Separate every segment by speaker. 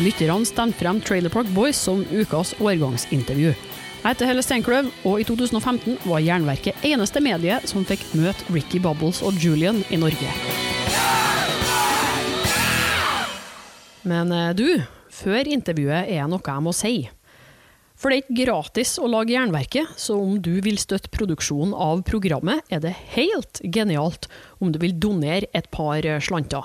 Speaker 1: Lytterne stemte frem Trailer Park Boys som ukas årgangsintervju. Jeg heter Helle Steinkløv, og i 2015 var Jernverket eneste medie som fikk møte Ricky Bubbles og Julian i Norge. Men eh, du, før intervjuet er det noe jeg må si. For det er ikke gratis å lage Jernverket, så om du vil støtte produksjonen av programmet, er det helt genialt om du vil donere et par eh, slanter.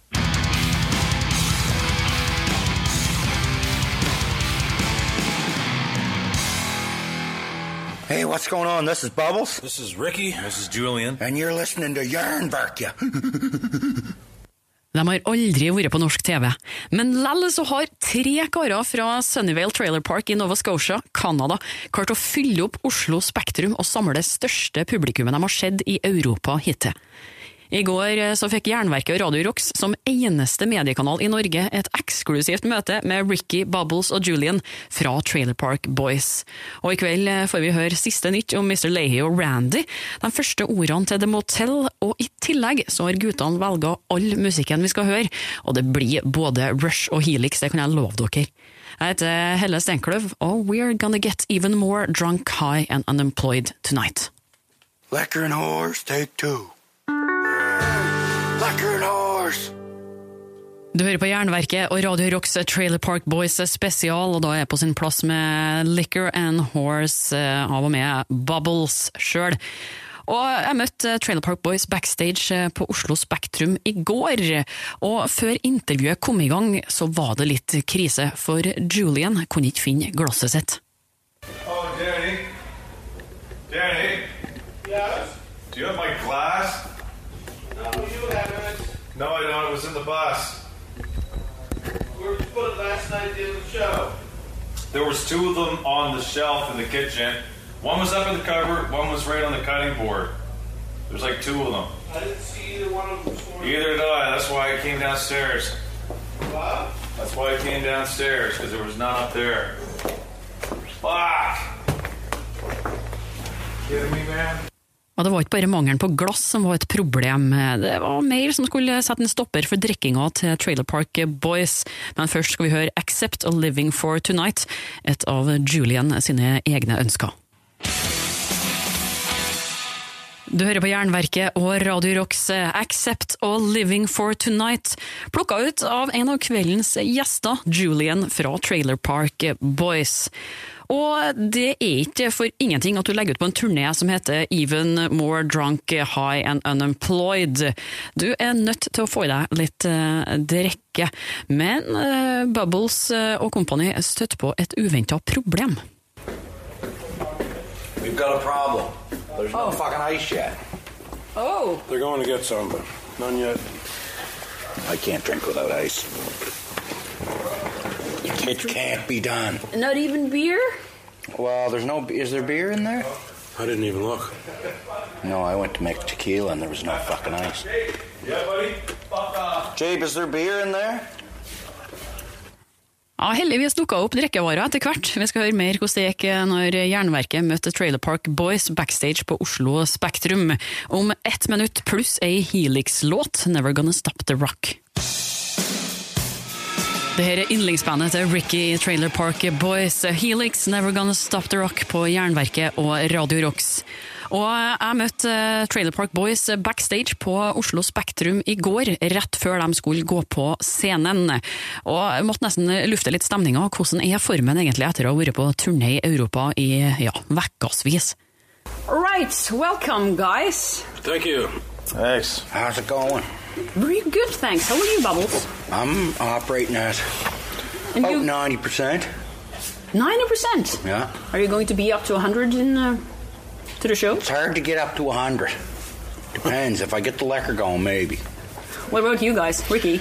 Speaker 2: Hey, what's going on? This is Bubbles,
Speaker 3: This is Ricky. This is Julian.
Speaker 2: and you're listening to Yarnbarkia.
Speaker 4: De har aldri vært på norsk TV, men lell så har tre karer fra Sunnyvale Trailer Park i Nova Scotia, Canada, klart å fylle opp Oslo Spektrum og samle det største publikummet de har sett i Europa hittil. I går eh, så fikk Jernverket og Radio Rocks som eneste mediekanal i Norge et eksklusivt møte med Ricky, Bubbles og Julian fra Trailer Park Boys. Og i kveld eh, får vi høre siste nytt om Mr. Leahy og Randy, de første ordene til The Motel, og i tillegg så har guttene velga all musikken vi skal høre, og det blir både Rush og Helix, det kan jeg love dere. Jeg heter Helle Steinkløv, og we're gonna get even more drunk, high and unemployed tonight.
Speaker 2: Liquor and whores, take two. Liquor and whores.
Speaker 4: Du hører på Jernverket og Radio Rocks Trailer Park Boys spesial, og da er jeg på sin plass med Liquor and Horse eh, av og med Bubbles sjøl. Og jeg møtte Trailer Park Boys backstage eh, på Oslo Spektrum i går. Og før intervjuet kom i gang, så var det litt krise, for Julian kunne ikke finne glasset sitt.
Speaker 5: Oh, Danny. Danny. Yes? Do you have my glass? No, you haven't. No, I don't. It was in the bus.
Speaker 6: We were put it last night in the show.
Speaker 5: There was two of them on the shelf in the kitchen. One was up in the cupboard. One was right on the cutting board. There's like two of them.
Speaker 6: I didn't see either one of them this morning.
Speaker 5: Either did I. That's why I came downstairs.
Speaker 6: Bob?
Speaker 5: That's why I came downstairs because there was none up there. Fuck. Kidding me, man?
Speaker 4: Og det var ikke bare mangelen på glass som var et problem, det var mer som skulle sette en stopper for drikkinga til Trailer Park Boys. Men først skal vi høre Accept a Living for Tonight, et av Julian sine egne ønsker. Du hører på Jernverket og Radio Rocks eh, Accept og Living for Tonight, plukka ut av en av kveldens gjester, Julian fra Trailer Park Boys. Og det er ikke for ingenting at du legger ut på en turné som heter Even More Drunk, High and Unemployed. Du er nødt til å få i deg litt eh, drikke, men eh, Bubbles eh, og company støtte på et uventa problem.
Speaker 2: We've got a problem. There's no fucking ice yet.
Speaker 7: They're going to get some, but none yet.
Speaker 2: I can't drink without ice. It can't be done.
Speaker 8: Not even beer?
Speaker 2: Well, there's no. Is there beer in there?
Speaker 7: I didn't even look.
Speaker 2: No, I went to make tequila and there was no fucking ice.
Speaker 5: Yeah, buddy. Fuck off.
Speaker 2: Jabe, is there beer in there?
Speaker 4: Ja, Heldigvis dukka opp drikkevarer etter hvert. Vi skal høre mer hvordan det gikk eh, når Jernverket møtte Trailer Park Boys backstage på Oslo Spektrum. Om ett minutt pluss ei Helix-låt, 'Never Gonna Stop The Rock'. Det her er yndlingsbandet til Ricky Trailer Park Boys. Helix, Never Gonna Stop The Rock på Jernverket og Radio Rocks. Og jeg møtte eh, Trailer Park Boys backstage på Oslo Spektrum i går, rett før de skulle gå på scenen. Og jeg måtte nesten lufte litt stemninga. Hvordan er formen egentlig etter å ha vært på turné i Europa i ja, ukevis?
Speaker 8: Right, welcome, guys.
Speaker 7: Thank you.
Speaker 5: Thanks.
Speaker 2: How's it going?
Speaker 8: Very good, thanks. How are you, Bubbles?
Speaker 2: I'm operating at
Speaker 8: And
Speaker 2: about
Speaker 8: you,
Speaker 2: 90%.
Speaker 8: 90%.
Speaker 2: Yeah.
Speaker 8: Are you going to be up to 100 in, uh, to the show?
Speaker 2: It's hard to get up to 100. Depends. if I get the liquor going, maybe.
Speaker 8: What about you guys? Ricky?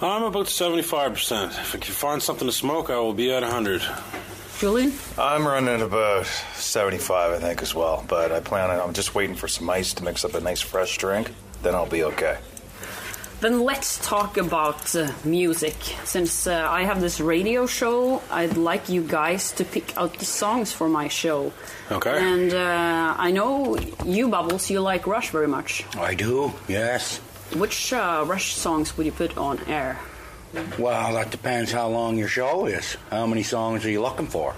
Speaker 7: I'm about 75%. If I can find something to smoke, I will be at 100.
Speaker 8: Julian?
Speaker 5: I'm running about 75, I think, as well. But I plan on, I'm just waiting for some ice to mix up a nice fresh drink. Then I'll be okay.
Speaker 8: Then let's talk about uh, music. Since uh, I have this radio show, I'd like you guys to pick out the songs for my show.
Speaker 2: Okay.
Speaker 8: And uh, I know you, Bubbles, you like Rush very much.
Speaker 2: I do, yes.
Speaker 8: Which uh, Rush songs would you put on air?
Speaker 2: Well, that depends how long your show is. How many songs are you looking for?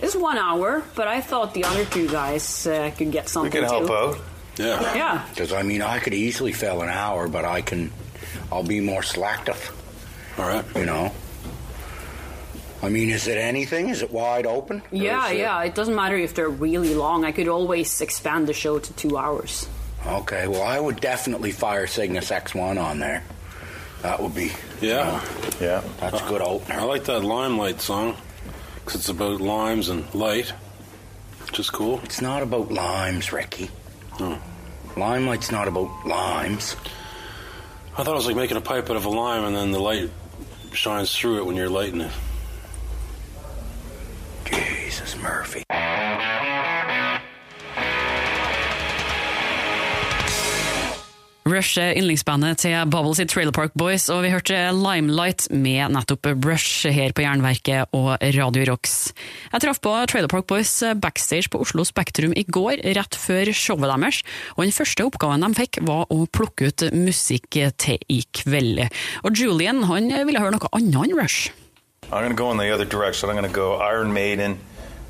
Speaker 8: It's one hour, but I thought the other two guys uh, could get
Speaker 5: We
Speaker 8: something
Speaker 5: can help
Speaker 8: too.
Speaker 5: out.
Speaker 2: Yeah.
Speaker 8: Yeah.
Speaker 2: Because I mean, I could easily fill an hour, but I can, I'll be more selective. All right. You know. I mean, is it anything? Is it wide open? Or
Speaker 8: Yeah,
Speaker 2: is it-
Speaker 8: yeah. It doesn't matter if they're really long. I could always expand the show to two hours.
Speaker 2: Okay. Well, I would definitely fire Cygnus X1 on there. That would be.
Speaker 7: Yeah.
Speaker 5: Yeah.
Speaker 2: That's a good opener.
Speaker 7: I like that limelight song because it's about limes and light, which is cool. Oh.
Speaker 2: It's not about limes, Ricky. Limelight's not about limes.
Speaker 7: I thought it was like making a pipe out of a lime, and then the light shines through it when you're lighting it.
Speaker 2: Jesus, Murphy.
Speaker 4: Rush er yndlingsbandet til Bubbles i Trailer Park Boys, og vi hørte Limelight med nettopp Rush her på Jernverket og Radio Rocks. Jeg traff på Trailer Park Boys backstage på Oslo Spektrum i går, rett før showet deres, og den første oppgaven de fikk var å plukke ut musikk til i kveld. Og Julian han ville høre noe annet enn Rush.
Speaker 5: I'm going to go in the other direction. I'm going to go Iron Maiden,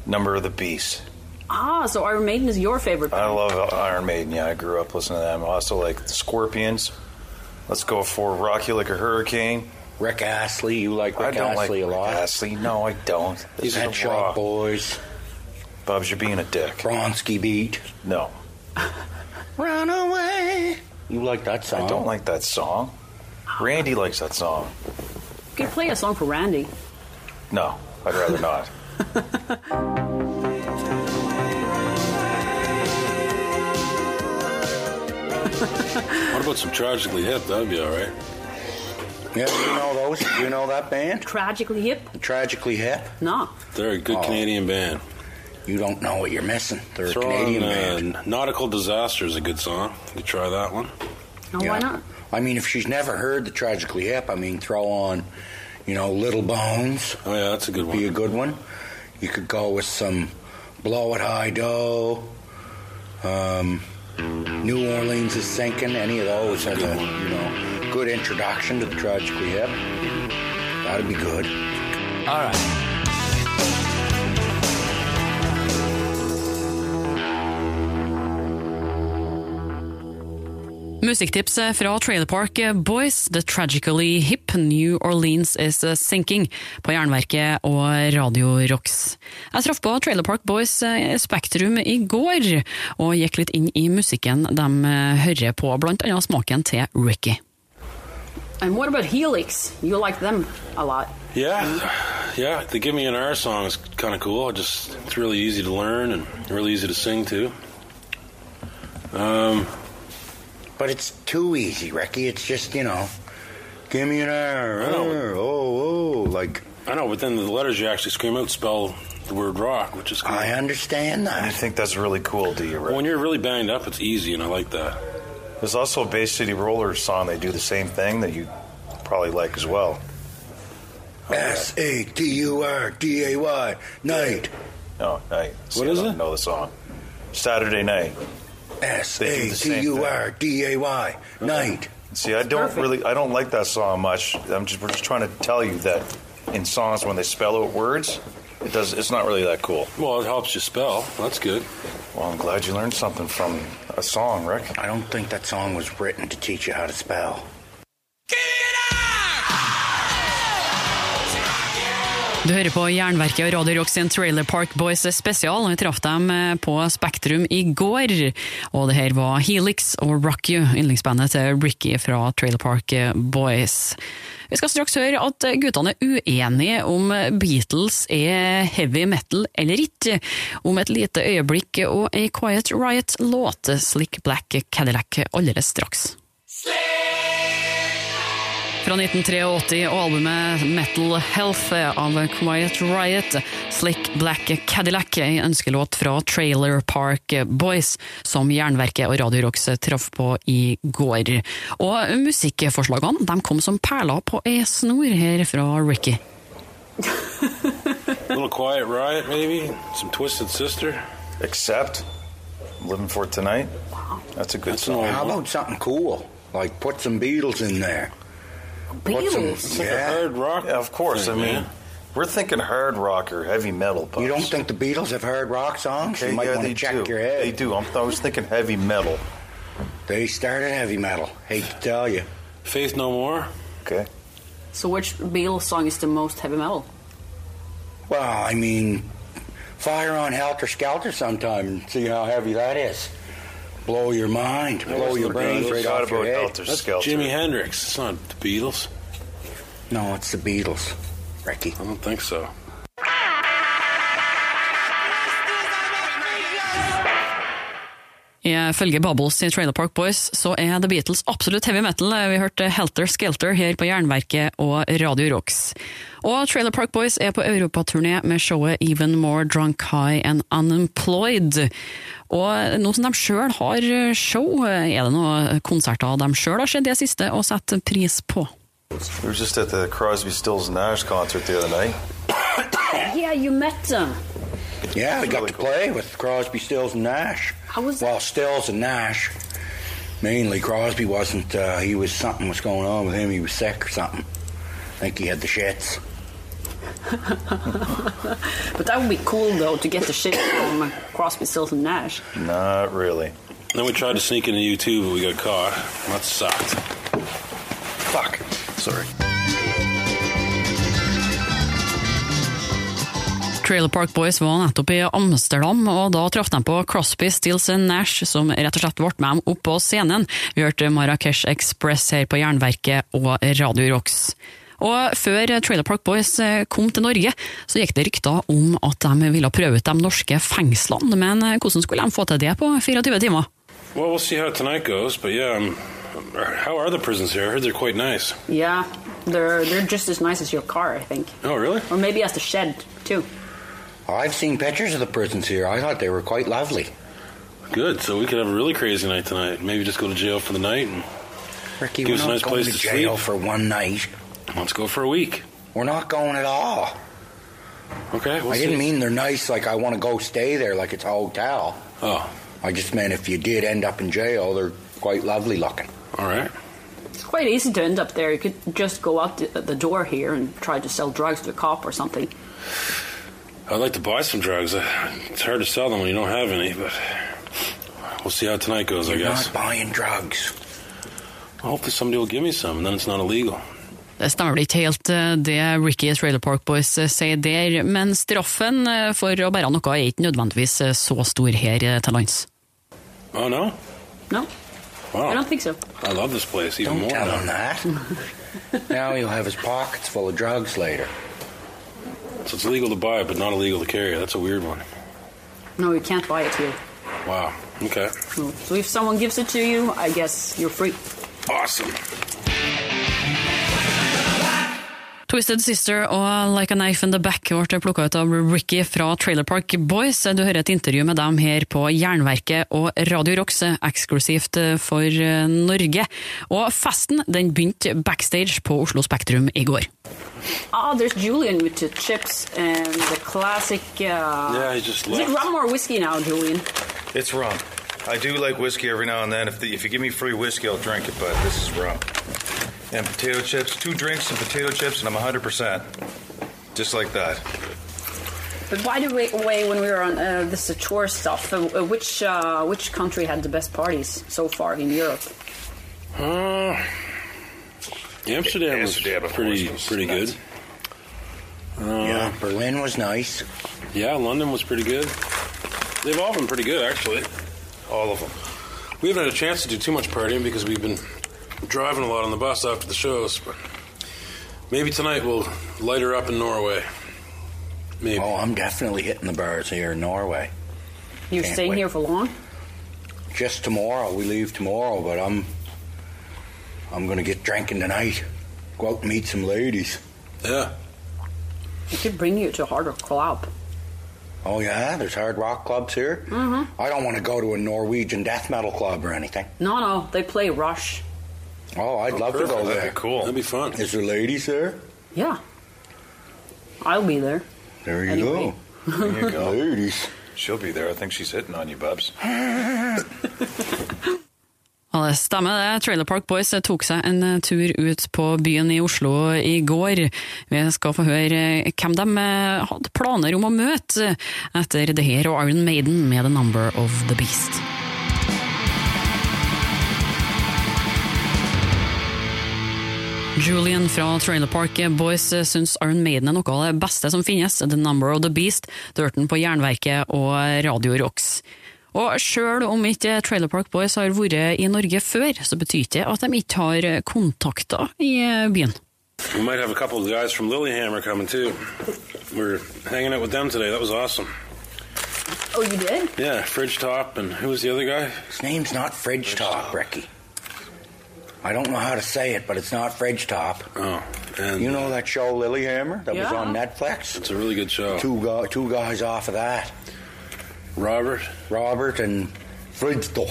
Speaker 5: Number of the Beast.
Speaker 8: Ah, so Iron Maiden is your favorite.
Speaker 5: I
Speaker 8: band.
Speaker 5: love Iron Maiden. Yeah, I grew up listening to them. I also like the Scorpions. Let's go for Rocky Like a Hurricane.
Speaker 2: Rick Astley, you like
Speaker 5: I
Speaker 2: Rick
Speaker 5: don't like
Speaker 2: Astley a lot.
Speaker 5: Rick Astley. No, I don't. This
Speaker 2: These
Speaker 5: is
Speaker 2: Headshot
Speaker 5: raw.
Speaker 2: Boys,
Speaker 5: Bubs, you're being a dick.
Speaker 2: Bronsky Beat.
Speaker 5: No,
Speaker 2: Run away. You like that song?
Speaker 5: I don't like that song. Randy likes that song.
Speaker 8: You could play a song for Randy.
Speaker 5: No, I'd rather not.
Speaker 7: What about some tragically hip? That'd be all right.
Speaker 2: Yeah, you know those? You know that band?
Speaker 8: Tragically hip?
Speaker 2: Tragically Hip?
Speaker 8: No.
Speaker 7: They're a good
Speaker 2: Oh.
Speaker 7: Canadian band.
Speaker 2: You don't know what you're missing. They're
Speaker 7: Throw
Speaker 2: a Canadian
Speaker 7: on, uh,
Speaker 2: band.
Speaker 7: Nautical Disaster is a good song. You try that one.
Speaker 8: No,
Speaker 2: Yeah.
Speaker 8: why not?
Speaker 2: I mean, if she's never heard the Tragically Hip, I mean, throw on, you know, Little Bones.
Speaker 7: Oh yeah, that's a good one.
Speaker 2: Be a good one. You could go with some Blow It High Dough. Um, New Orleans is Sinking. Any of those has a, you know, good introduction to the Tragically Hip. That'd be good.
Speaker 9: All right.
Speaker 4: Musikktips eh, fra Trailer Park Boys, The Tragically Hip, New Orleans Is eh, Sinking, på Jernverket og Radio Rocks. Jeg traff på Trailer Park Boys eh, Spektrum i går, og gikk litt inn i musikken de eh, hører på, blant annet smaken til Ricky.
Speaker 8: And what about Helix? You like them a lot.
Speaker 7: Yeah, yeah. The "Give Me an R" song is kind of cool. Just it's really easy to learn and really easy to sing too. Um,
Speaker 2: But it's too easy, Ricky. It's just, you know, give me an hour.
Speaker 7: I know.
Speaker 2: hour, Oh, oh. Like,
Speaker 7: I know, but then the letters you actually scream out spell the word rock, which is cool.
Speaker 2: I understand
Speaker 5: And you
Speaker 2: that.
Speaker 5: think that's really cool, do you,
Speaker 7: When
Speaker 5: Rick?
Speaker 7: you're really banged up, it's easy, and I like that.
Speaker 5: There's also a Bay City Rollers song. They do the same thing that you probably like as well.
Speaker 2: S A T U R D A Y, night.
Speaker 5: No, I, see,
Speaker 7: What
Speaker 5: I
Speaker 7: is
Speaker 5: don't
Speaker 7: it?
Speaker 5: know the song. Saturday night.
Speaker 2: S
Speaker 5: They do
Speaker 2: A
Speaker 5: the
Speaker 2: T
Speaker 5: same
Speaker 2: U R D A Y, night.
Speaker 5: See, I don't
Speaker 8: Perfect.
Speaker 5: really, I don't like that song much. I'm just, we're just trying to tell you that in songs when they spell out words, it does. It's not really that cool.
Speaker 7: Well, it helps you spell. That's good.
Speaker 5: Well, I'm glad you learned something from a song, Rick.
Speaker 2: I don't think that song was written to teach you how to spell.
Speaker 4: Du hører på Jernverket og Radio Rock sin Trailer Park Boys spesial, og vi traff dem eh, på Spektrum i går. Og det her var Helix og Rock You, yndlingsbandet til Ricky fra Trailer Park Boys. Vi skal straks høre at guttene er uenige om Beatles er heavy metal eller ikke. Om et lite øyeblikk og ei Quiet Riot-låt, Slick Black Cadillac, allerede straks.
Speaker 9: Slick,
Speaker 4: fra 1983 og albumet Metal Health av Quiet Riot, Slick Black Cadillac, en ønskelåt fra Trailer Park Boys, som Jernverket og Radio Rocks traff på i går. Og musikkforslagene de kom som perler på ei snor her fra Ricky.
Speaker 7: A little quiet riot, maybe. Some Twisted Sister.
Speaker 9: Except living for tonight. That's a good
Speaker 7: That's an
Speaker 9: song.
Speaker 7: old
Speaker 2: How
Speaker 7: one.
Speaker 2: about something cool? Like put some Beatles in there. Put some-
Speaker 8: Beatles.
Speaker 7: It's like a
Speaker 2: yeah.
Speaker 7: hard rock.
Speaker 9: Yeah, of course. I
Speaker 7: thing,
Speaker 9: mean,
Speaker 7: man.
Speaker 9: we're thinking hard rock or heavy metal. But
Speaker 2: You don't think the Beatles have heard rock songs?
Speaker 9: Okay,
Speaker 2: you might
Speaker 9: yeah,
Speaker 2: want
Speaker 9: they
Speaker 2: to check
Speaker 9: do.
Speaker 2: your head.
Speaker 9: They do. I'm, I was thinking heavy metal.
Speaker 2: They started heavy metal. Hate to tell you.
Speaker 7: Faith No More.
Speaker 9: Okay.
Speaker 8: So which Beatles song is the most heavy metal?
Speaker 2: Well, I mean, fire on Helter Skelter sometime. and See how heavy that is. Blow your mind. Blow your brains right
Speaker 9: Forgot
Speaker 2: off your
Speaker 9: about
Speaker 2: head.
Speaker 9: Helter
Speaker 7: That's
Speaker 9: Skelter.
Speaker 7: Jimi Hendrix. It's not the Beatles.
Speaker 2: No, it's the Beatles. Ricky.
Speaker 7: I don't think so.
Speaker 4: Ifølge Bubbles i Trailer Park Boys så er The Beatles absolutt heavy metal. Eh, Vi hørte Helter Skelter her på Jernverket og Radio Rocks. Og Trailer Park Boys er på europaturné med showet Even More Drunk High and Unemployed. Og nå som de sjøl har eh, show, er det noen konserter de sjøl har sett det siste og setter pris på?
Speaker 9: We were just at the Crosby, Stills, and Nash concert the other night.
Speaker 8: Yeah, you met them.
Speaker 2: Yeah, we got
Speaker 9: really
Speaker 2: to
Speaker 9: cool.
Speaker 2: play with Crosby, Stills, and Nash.
Speaker 8: How was that?
Speaker 2: well, Stills and Nash. Mainly, Crosby wasn't. Uh, he was something was going on with him. He was sick or something. I think he had the shits.
Speaker 8: But that would be cool though to get the shit from Crosby, Stills and Nash.
Speaker 9: Not really.
Speaker 7: Then we tried to sneak into U2, but we got caught. That sucked.
Speaker 2: Fuck.
Speaker 7: Sorry.
Speaker 4: Trailer Park Boys var nettopp i Amsterdam, og da traff de på Crosby, Stills and Nash, som rett og slett ble med dem opp på scenen. Vi hørte Marrakech Express her på Jernverket og Radio Rocks. Og før Trailer Park Boys kom til Norge, så gikk det rykter om at de ville prøve ut de norske fengslene, men hvordan skulle de få til det på 24 timer?
Speaker 7: Well, we'll see how tonight goes, but yeah, um, how are the prisons here? I heard they're quite nice.
Speaker 8: Yeah, they're they're just as nice as your car, I think,
Speaker 7: Oh, really?
Speaker 8: or maybe as the shed too.
Speaker 2: I've seen pictures of the prisons here. I thought they were quite lovely.
Speaker 7: Good. So we could have a really crazy night tonight. Maybe just go to jail for the night and
Speaker 2: Ricky,
Speaker 7: Gives
Speaker 2: we're
Speaker 7: a
Speaker 2: not
Speaker 7: nice
Speaker 2: going
Speaker 7: place
Speaker 2: to
Speaker 7: to
Speaker 2: jail
Speaker 7: sleep.
Speaker 2: for one night.
Speaker 7: let's go for a week.
Speaker 2: We're not going at all.
Speaker 7: Okay. We'll
Speaker 2: I
Speaker 7: see.
Speaker 2: didn't mean they're nice. Like I want to go stay there, like it's a hotel.
Speaker 7: Oh,
Speaker 2: I just meant if you did end up in jail, they're quite lovely looking.
Speaker 7: all right.
Speaker 8: It's quite easy to end up there. You could just go out the, the door here and try to sell drugs to a cop or something.
Speaker 7: I'd like to buy some drugs. Uh, It's hard to sell them when you don't have any, but we'll see how tonight goes, I
Speaker 2: You're
Speaker 7: guess.
Speaker 2: not buying drugs.
Speaker 7: Hopefully somebody will give me some, and then it's not illegal.
Speaker 4: Det stemmer vel ikke helt eh, det Ricky i Trailer Park Boys eh, sier der, men straffen eh, for å bære noe er ikke nødvendigvis eh, så stor her eh, til lands.
Speaker 7: Oh, no?
Speaker 8: No, I
Speaker 7: Wow.
Speaker 8: don't think so.
Speaker 7: I love this place even
Speaker 2: Don't
Speaker 7: more
Speaker 2: tell
Speaker 7: now.
Speaker 2: him that. now he'll have his pockets full of drugs later.
Speaker 7: So it's legal to buy, but not illegal to carry. That's a weird one.
Speaker 8: No, you can't buy it here.
Speaker 7: Wow. Okay.
Speaker 8: No. So if someone gives it to you, I guess you're free.
Speaker 7: Awesome.
Speaker 4: Twisted Sister og Like a Knife in the Back ble plukka ut av Ricky fra Trailer Park Boys. Du hører et intervju med dem her på Jernverket og Radio Rocks, eksklusivt for eh, Norge. Og festen den begynte backstage på Oslo Spektrum i går.
Speaker 8: Ah, there's Julian with the chips and the classic. Uh,
Speaker 7: Yeah, he just
Speaker 8: is it
Speaker 7: left.
Speaker 8: rum or whiskey now, Julian?
Speaker 9: It's rum. I do like whiskey every now and then. If, the, if you give me free whiskey, I'll drink it, but this is rum. And potato chips, two drinks and potato chips, and I'm 100%. Just like that.
Speaker 8: But by the way, way when we were on uh, this uh, tour stuff, uh, uh, which uh, which country had the best parties so far in Europe?
Speaker 7: Uh, Amsterdam was
Speaker 9: Amsterdam, of
Speaker 7: pretty
Speaker 9: course, was
Speaker 7: pretty
Speaker 9: nuts.
Speaker 7: good.
Speaker 2: yeah, Berlin was nice.
Speaker 7: Yeah, London was pretty good. They've all been pretty good, actually.
Speaker 9: All of them.
Speaker 7: We haven't had a chance to do too much partying because we've been driving a lot on the bus after the shows. But maybe tonight we'll light her up in Norway. Maybe.
Speaker 2: Oh, I'm definitely hitting the bars here in Norway.
Speaker 8: You're
Speaker 2: Can't
Speaker 8: staying
Speaker 2: wait.
Speaker 8: here for long?
Speaker 2: Just tomorrow, we leave tomorrow, but I'm I'm gonna get drinking tonight. Go out and meet some ladies.
Speaker 7: Yeah.
Speaker 8: I could bring you to a harder club.
Speaker 2: Oh yeah, there's hard rock clubs here. Mm-hmm. I don't want to go to a Norwegian death metal club or anything.
Speaker 8: No, no, they play Rush.
Speaker 2: Oh, I'd love to go
Speaker 7: Perfect.
Speaker 2: there.
Speaker 7: cool. That'd be fun.
Speaker 2: Is there ladies there?
Speaker 8: Yeah. I'll be there.
Speaker 2: There you
Speaker 8: Anyway.
Speaker 2: go. There you go. ladies.
Speaker 9: She'll be there. I think she's hitting on you, Bubs.
Speaker 4: Ja, det stemmer det. Trailer Park Boys tok seg en eh, tur ut på byen i Oslo i går. Vi skal få høre eh, hvem de eh, hadde planer om å møte eh, etter det her og Iron Maiden med The Number of the Beast. Julian fra Trailer Park Boys eh, syns Iron Maiden er noe av det beste som finnes. The Number of the Beast, Dirten på Jernverket og Radio Rocks. Og sjøl om ikke Trailer Park Boys har vært i Norge før, så betyr ikke det at de ikke har kontakter i byen.
Speaker 7: We might have a couple of guys from Lilyhammer coming too. We're hanging out with them today. That was awesome.
Speaker 8: Oh, you did?
Speaker 7: Yeah, Fridge Top and who was the other guy?
Speaker 2: His name's not Fridge Top, Ricky. I don't know how to say it, but it's not Fridge Top.
Speaker 7: Oh, and
Speaker 2: You know that show Lilyhammer that was
Speaker 8: Yeah.
Speaker 2: on Netflix?
Speaker 7: it's a really good show.
Speaker 2: Two gu two guys off of that,
Speaker 7: Robert.
Speaker 2: Robert and Fridge Top.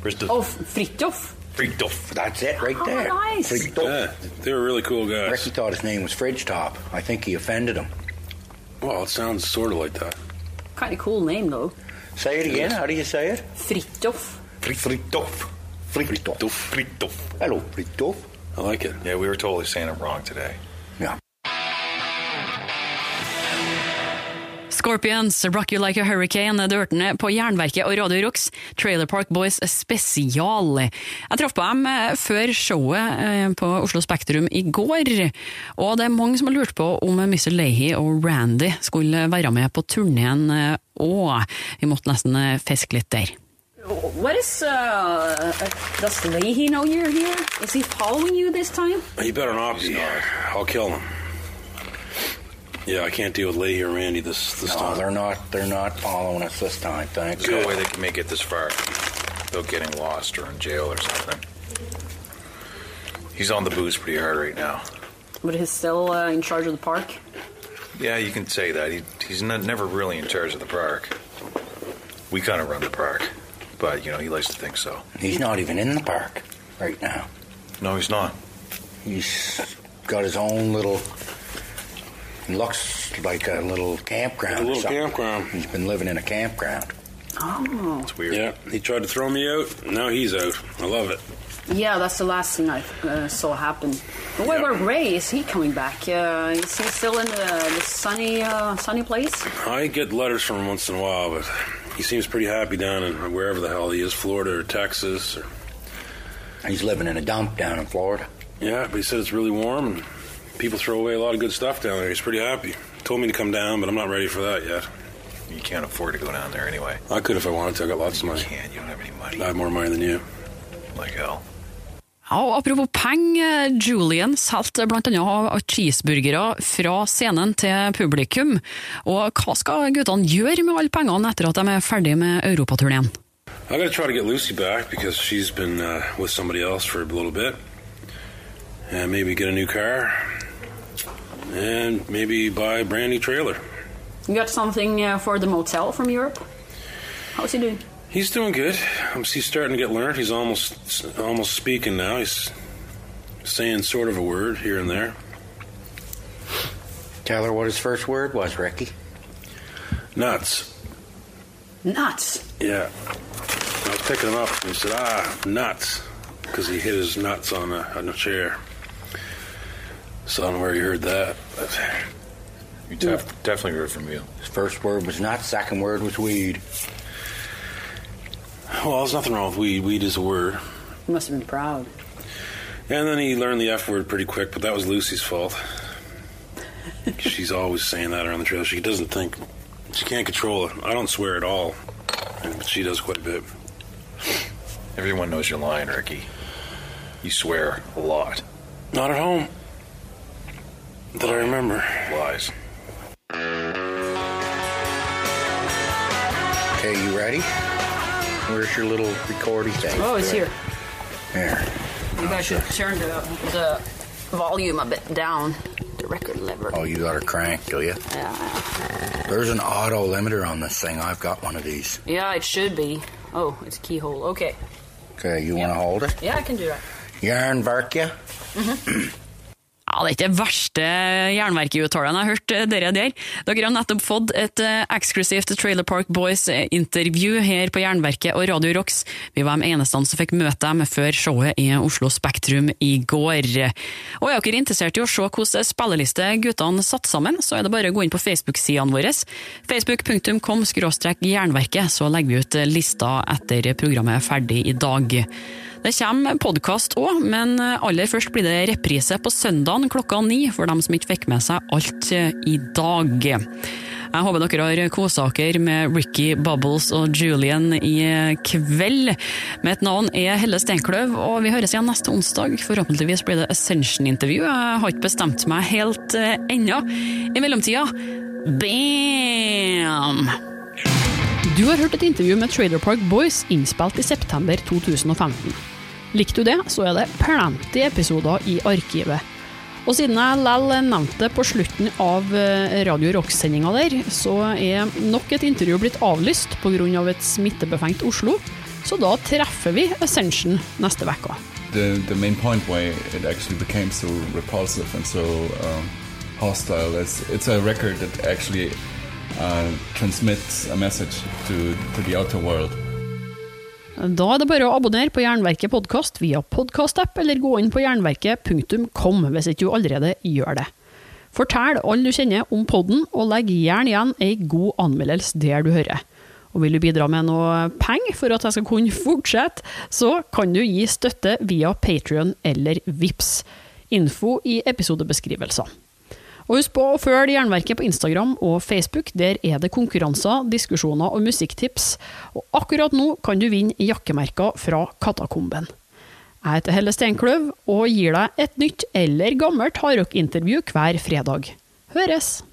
Speaker 9: Where's the
Speaker 8: Oh, Fritjof.
Speaker 9: freak off?
Speaker 2: That's it right
Speaker 8: Oh,
Speaker 2: there.
Speaker 8: nice.
Speaker 2: Fridge Top.
Speaker 7: Yeah, they were really cool guys.
Speaker 2: Ricky thought his name was Fridge Top. I think he offended him.
Speaker 7: Well, it sounds sort of like that.
Speaker 8: Kind of cool name, though.
Speaker 2: Say it again. How do you say it?
Speaker 8: Fritjof.
Speaker 9: Fritjof.
Speaker 2: Fritjof.
Speaker 9: Fritjof.
Speaker 2: Hello, Fritjof.
Speaker 7: I like it.
Speaker 9: Yeah, we were totally saying it wrong today.
Speaker 2: Yeah.
Speaker 4: Scorpions, Rock You Like a Hurricane, Dørtene på Jernverket og Radio Rocks, Trailer Park Boys spesial. Jeg traff på dem eh, før showet eh, på Oslo Spektrum i går, og det er mange som har lurt på om Mr. Leahy og Randy skulle være med på turneen òg. Vi måtte nesten eh, fiske litt der.
Speaker 8: What is, uh, does Leahy know you're here? Is he following you this time?
Speaker 7: He better not be. I'll kill him. Yeah, I can't deal with Leahy or Randy this this
Speaker 2: No,
Speaker 7: time.
Speaker 2: Oh, they're not. They're not following us this time. Thanks.
Speaker 9: There's no way they can make it this far without getting lost or in jail or something. He's on the booze pretty hard right now.
Speaker 8: But he's still uh, in charge of the park?
Speaker 9: Yeah, you can say that. He, he's not, never really in charge of the park. We kind of run the park, but you know he likes to think so.
Speaker 2: He's not even in the park right now.
Speaker 9: No, he's not.
Speaker 2: He's got his own little. Looks like a little campground.
Speaker 7: A
Speaker 2: or
Speaker 7: little
Speaker 2: something.
Speaker 7: campground.
Speaker 2: He's been living in a campground.
Speaker 8: Oh.
Speaker 9: It's weird.
Speaker 7: Yeah, he tried to throw me out. Now he's out. I love it.
Speaker 8: Yeah, that's the last thing I uh, saw happen. But wait,
Speaker 7: Yeah.
Speaker 8: where Ray? Is he coming back? Uh, is he still in the, the sunny, uh, sunny place?
Speaker 7: I get letters from him once in a while, but he seems pretty happy down in wherever the hell he is, Florida or Texas. Or,
Speaker 2: He's living in a dump down in Florida.
Speaker 7: yeah, but he said it's really warm and people throw away a lot of good stuff down there. He's pretty happy. Told me to come down, but I'm not ready for that yet.
Speaker 9: You can't afford to go down there anyway.
Speaker 7: I could if I wanted to. I got lots of
Speaker 9: You
Speaker 7: money.
Speaker 9: can't. You don't have any money.
Speaker 7: I have more money than you.
Speaker 9: like hell.
Speaker 4: Ja, og apropos penger, Julian solgte bl.a. cheeseburgere fra scenen til publikum. Og hva skal guttene gjøre med alle pengene etter at de er ferdig med europaturneen?
Speaker 7: I gotta try to get Lucy back because she's been uh, with somebody else for a little bit. And maybe get a new car. And maybe buy a brand new trailer.
Speaker 8: You got something uh, for the motel from Europe? How's he doing?
Speaker 7: He's doing good. Um, He's starting to get learned. He's almost almost speaking now. He's saying sort of a word here and there.
Speaker 2: Tell her what his first word was, Ricky.
Speaker 7: Nuts.
Speaker 8: Nuts.
Speaker 7: Yeah. I was picking him up and he said, "Ah, nuts," because he hit his nuts on a, on a chair. So I don't know where he heard that. But
Speaker 9: You def- definitely heard from you.
Speaker 2: His first word was not. Second word was weed.
Speaker 7: well, there's nothing wrong with weed. Weed is a word.
Speaker 8: He must have been proud.
Speaker 7: And then he learned the F word pretty quick, but that was Lucy's fault. She's always saying that around the trailer. She doesn't think, she can't control it. I don't swear at all, but she does quite a bit.
Speaker 9: Everyone knows you're lying, Ricky. You swear a lot.
Speaker 7: Not at home. That I remember.
Speaker 9: Lies.
Speaker 2: Okay, you ready? Where's your little recording thing?
Speaker 8: Oh, it's here.
Speaker 2: There.
Speaker 8: You guys should turn the, the
Speaker 10: volume a bit down. The record lever.
Speaker 2: Oh, you got her cranked, do you?
Speaker 10: Yeah.
Speaker 2: There's an auto limiter on this thing. I've got one of these.
Speaker 10: Yeah, it should be. Oh, it's a keyhole. Okay.
Speaker 2: Okay, you want to hold it?
Speaker 10: Yeah, I can do that.
Speaker 2: Jernverket.
Speaker 8: Ja, Det er ikke det verste jernverkeuttalen jeg har hørt, eh, dere der. Dere har nettopp fått et eh, eksklusivt Trailer Park Boys-intervju her på Jernverket og Radio Rocks. Vi var de eneste som fikk møte dem før showet i Oslo Spektrum i går. Og er dere interessert i å se hvordan spilleliste guttene satt sammen, så er det bare å gå inn på Facebook-sidene våre. Facebook.com jernverket, så legger vi ut eh, lista etter programmet er ferdig i dag. Det kommer podkast òg, men aller først blir det reprise på søndagen klokka ni for dem som ikke fikk med seg alt i dag. Jeg håper dere har kosa dere med Ricky Bubbles og Julian i kveld. Mitt navn er Helle Steinkløv, og vi høres igjen neste onsdag. Forhåpentligvis blir det Ascension-intervju. Jeg har ikke bestemt meg helt eh, ennå. I mellomtida bam!
Speaker 1: Du har hørt et intervju med Trailer Park Boys innspilt i september 2015. Likte du det, så er det plenty episoder i arkivet. Og siden jeg lell nevnte det på slutten av eh, Radio Rock-sendinga der, så er nok et intervju blitt avlyst pga. Av et smittebefengt Oslo, så da treffer vi Ascension neste uke.
Speaker 11: the the main point why it actually became so repulsive and so um, hostile is it's a record that actually uh, transmits a message to to the outer world.
Speaker 1: Da er det bare å abonnere på Jernverket podkast via podkastapp, eller gå inn på jernverket.com hvis ikke du allerede gjør det. Fortell alle du kjenner om podden, og legg gjerne igjen ei god anmeldelse der du hører. Og vil du bidra med noe penger for at jeg skal kunne fortsette, så kan du gi støtte via Patrion eller Vips. Info i episodebeskrivelser. Og husk på å følge Jernverket på Instagram og Facebook. Der er det konkurranser, diskusjoner og musikktips. Og akkurat nå kan du vinne jakkemerker fra Katakomben. Jeg heter Helle Steinkløv og gir deg et nytt eller gammelt hardrockintervju hver fredag. Høres!